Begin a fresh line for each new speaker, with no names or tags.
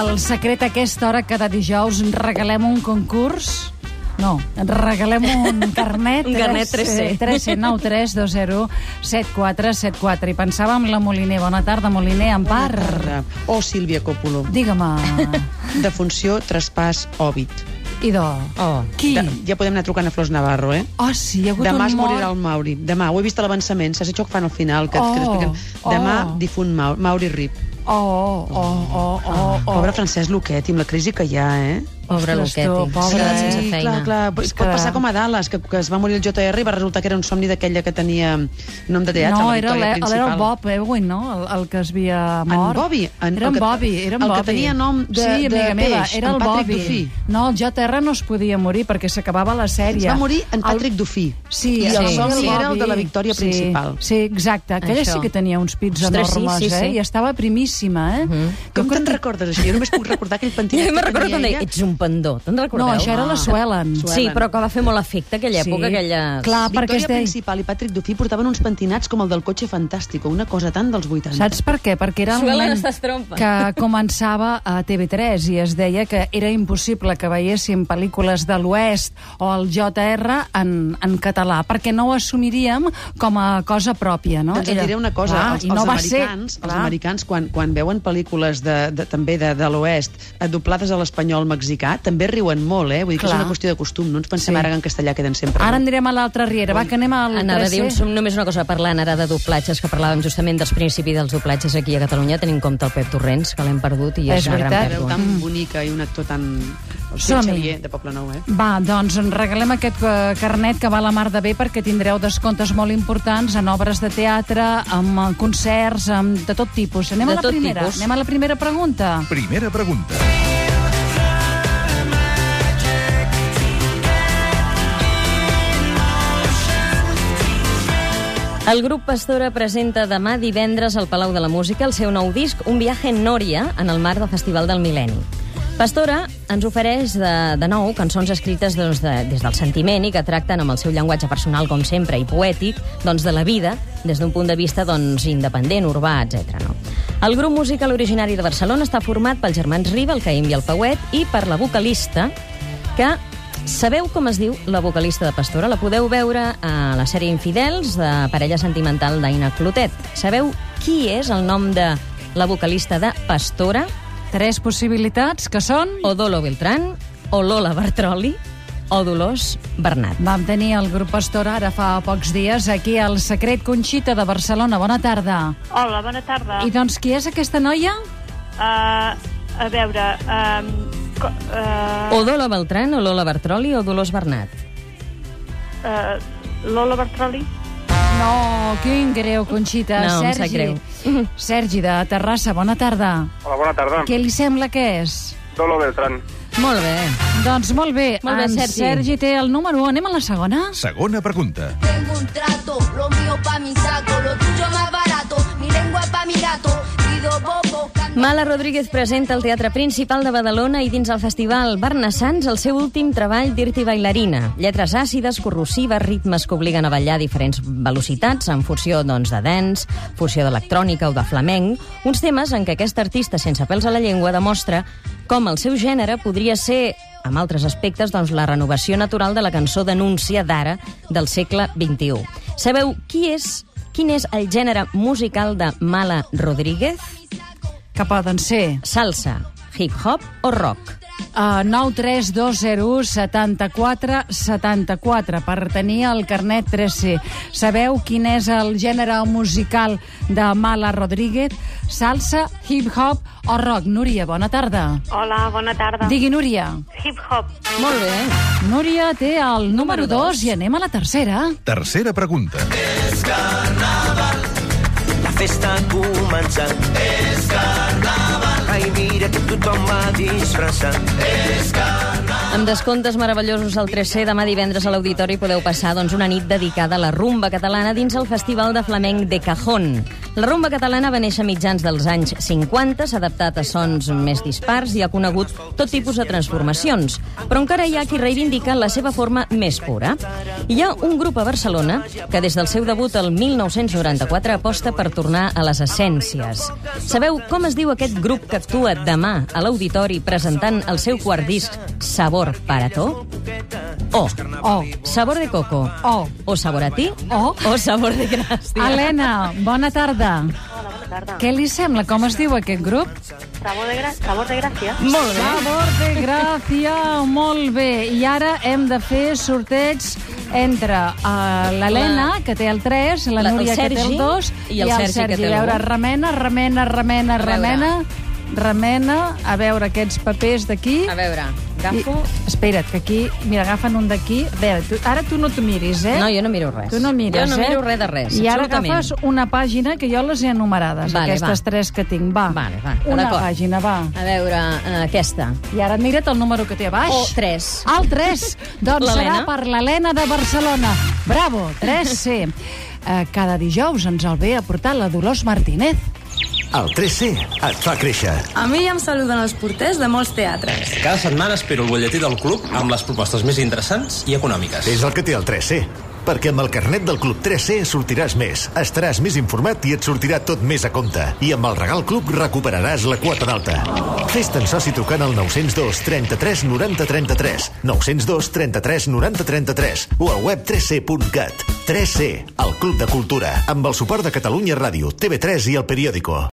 El secret a aquesta hora cada dijous ens regalem un concurs... No, ens regalem un carnet... eh,
Un carnet 3C.
3C 9 3 2 0 7 4 7 4. I pensàvem la Moliner. Bona tarda, Moliner, en part.
Tarda. O Sílvia Coppola.
Digue-me.
De funció traspàs òbit.
Idò.
Oh.
Qui?
De, ja podem anar trucant a Flors Navarro, eh?
Oh, sí, hi ha hagut
Demà es
un mort.
morirà el Mauri. Demà, ho he vist a l'avançament, saps això que fan al final, que, que
Oh,
t'expliquen. Demà,
oh.
difunt Mau- Mauri Rip.
Oh, oh, oh, oh, oh.
Ah, Pobre Francesc Luquet, i amb la crisi que hi ha, eh?
Pobre
Ostres,
Luqueti.
tu, pobre.
S'ha quedat sense
Sí,
feina.
Clar, clar.
És
Es pot
que-
passar com a Dallas, que, que es va morir el JR i va resultar que era un somni d'aquella que tenia nom de teatre,
no,
la
era,
victòria
l'E-
principal.
era el Bob Ewing, no? El, el que es havia mort.
En Bobby, en-
era en
el que-
Bobby, era en
el que
Bobby.
tenia nom de-
sí,
de
amiga meva,
peix,
era
en
el
Patrick
Bobby.
Duffy.
No, el JR no es podia morir perquè s'acabava la sèrie.
Es va morir en Patrick Duffy.
Sí,
I
el
sí,
somni
sí.
era el de la victòria
sí,
principal.
Sí, exacte. Aquella
Això.
sí que tenia uns pits
Ostres, sí,
enormes,
sí, sí. Mhm.
eh? I estava primíssima, eh? Mm.
Com te'n recordes, això? Jo només puc recordar aquell
Jo
pentinat
me'n recordo
que
quan
tenia
deia,
ella.
ets un pendó, te'n recordeu?
No, això era la
Ah.
Suelen.
Sí, però que va fer molt efecte aquella època,
Sí.
aquella...
Clar, Ah, perquè es
Victòria
deia...
Principal i Patrick Duffy portaven uns pentinats com el del cotxe fantàstico, una cosa tant dels 80.
Saps per què? Perquè era el
Suelen
moment
estàs trompa.
que començava a TV3 i es deia que era impossible que veiéssim pel·lícules de l'Oest o el JR en, en català, perquè no ho assumiríem com a cosa pròpia, no?
Doncs et diré una cosa,
Clar,
els,
i
els,
no va ser,
americans, els
clar.
americans quan, quan veuen pel·lícules de, de, també de, de l'oest eh, doblades a l'espanyol mexicà, també riuen molt, eh? Vull dir que és
Clar.
una qüestió de costum, no ens pensem
Sí.
sí. ara que en castellà queden sempre.
Ara anirem a l'altra riera, va, que anem al
Anava a dir
3C.
un, només una cosa parlant ara de doblatges, que parlàvem justament dels principis dels doblatges aquí a Catalunya, tenint en compte el Pep Torrents, que l'hem perdut i
És
és, una gran
veritat.
Una veu
pèrdua.
tan bonica i un actor tan... O sigui,
Som-hi.
Xavier, de Poblenou, eh?
Va, doncs en regalem aquest eh, carnet que va a la mar de bé perquè tindreu descomptes molt importants en obres de teatre, amb eh, concerts, amb de tot tipus. Anem
De
a la
tot
primera.
tipus.
Anem a la primera pregunta.
Primera pregunta.
El grup Pastora presenta demà divendres al Palau de la Música el seu nou disc Un viaje en Nòria en el marc del Festival del Mil·lenni. Pastora ens ofereix de, de nou cançons escrites doncs, de, des del sentiment i que tracten amb el seu llenguatge personal, com sempre, i poètic, doncs, de la vida, des d'un punt de vista doncs, independent, urbà, etc. No? El grup musical originari de Barcelona està format pels germans Riba, el Caim i el Pauet, i per la vocalista, que Sabeu com es diu la vocalista de Pastora? La podeu veure a la sèrie Infidels de Parella Sentimental d'Aina Clotet. Sabeu qui és el nom de la vocalista de Pastora?
Tres possibilitats, que són...
O Dolo Beltrán, o Lola Bertroli, o Dolors Bernat.
Vam tenir el grup Pastora ara fa pocs dies aquí al Secret Conxita de Barcelona. Bona tarda.
Hola, bona
Ah.
tarda.
I doncs qui és aquesta noia?
Uh, a veure... Um, co, uh,
O Dolo Beltrán, o Lola Bertroli, o Dolors Bernat.
uh, Lola Bertroli?
No, quin greu, Conxita.
No, em sap
Sergi.
greu.
Sergi de Terrassa, bona tarda.
Hola, bona
Ah.
tarda.
Què li sembla que és?
Dolo Beltrán.
Molt bé.
Doncs molt bé,
Molt bé,
en
Sergi.
Sergi té el número 1. Anem a la segona?
Segona pregunta.
Tengo un trato, lo mío pa' mi saco, lo tuyo más barato, mi lengua pa' mi gato, pido bobo, canto.
Mala Rodríguez presenta al Teatre Principal de Badalona i dins el festival Barnassans el seu últim treball Dirty Bailarina. Lletres àcides, corrosives, ritmes que obliguen a ballar a diferents velocitats en funció doncs, de dance, funció d'electrònica o de flamenc, uns temes en què aquest artista sense pèls a la llengua demostra com el seu gènere podria ser amb altres aspectes, doncs, la renovació natural de la cançó d'anúncia d'ara del segle XXI. Sabeu qui és, quin és el gènere musical de Mala Rodríguez?
Que poden ser
salsa, hip-hop o rock.
uh, 93201 74 74 per tenir el carnet 3C. Sabeu quin és el gènere musical de Mala Rodríguez? Salsa, hip-hop o rock? Núria, bona tarda.
Hola, bona tarda.
Digui, Núria.
Hip-hop.
Molt bé.
Núria té el número
Número dos.
2 i anem a la tercera.
Tercera pregunta.
La festa ha començat. És carnaval. Ai, mira que tothom va disfressat.
Amb descomptes meravellosos al 3C, demà divendres a l'Auditori podeu passar doncs, una nit dedicada a la rumba catalana dins el Festival de Flamenc de Cajón. La rumba catalana va néixer a mitjans dels anys 50, s'ha adaptat a sons més dispars i ha conegut tot tipus de transformacions, però encara hi ha qui reivindica la seva forma més pura. Hi ha un grup a Barcelona que des del seu debut el 1994 aposta per tornar a les essències. Sabeu com es diu aquest grup que actua demà a l'auditori presentant el seu quart disc Sabor Parató? O.
O.
Sabor de coco.
O.
O sabor a ti.
O.
O sabor de gràcia.
Helena, bona tarda.
Hola, bona tarda.
Què li sembla? Com es diu aquest grup?
Sabor de, gra... Sabor de gràcia?
Molt bé.
Sabor de gràcia, molt bé. I ara hem de fer sorteig entre uh, l'Helena, que té el 3, la,
la- el
Núria, que té
Sergi,
el 2,
i el Sergi, que té
A
el
veure,
un.
remena, remena, remena,
veure.
remena, remena, a veure aquests papers d'aquí.
A veure,
I,
agafo...
espera't, que aquí... Mira, agafen un d'aquí. A veure, tu, ara tu no t'ho miris, eh?
No, jo no miro res.
Tu no mires,
Jo no
eh?
miro res de res,
I ara
absolutament.
agafes una pàgina que jo les he enumerades,
Vale,
aquestes
va.
tres que tinc. Va,
Vale, va,
una
d'acord.
pàgina, va.
A veure, eh, aquesta.
I ara mira't el número que té a baix.
O Oh, tres.
El 3. doncs serà
L'Helena.
per l'Helena de Barcelona. Bravo, 3C. Eh, Cada dijous ens el ve a portar la Dolors Martínez.
El 3C et fa créixer.
A mi ja em saluden els porters de molts teatres.
Cada setmana espero el butlletí del club amb les propostes més interessants i econòmiques.
És el que té el 3C. Perquè amb el carnet del Club 3C sortiràs més, estaràs més informat i et sortirà tot més a compte. I amb el Regal Club recuperaràs la quota d'alta. Fes-te'n soci trucant al 902 33 90 33, 902 33 90 33 o al web 3C.cat. 3C, el Club de Cultura, amb el suport de Catalunya Ràdio, TV3 i El Periòdico.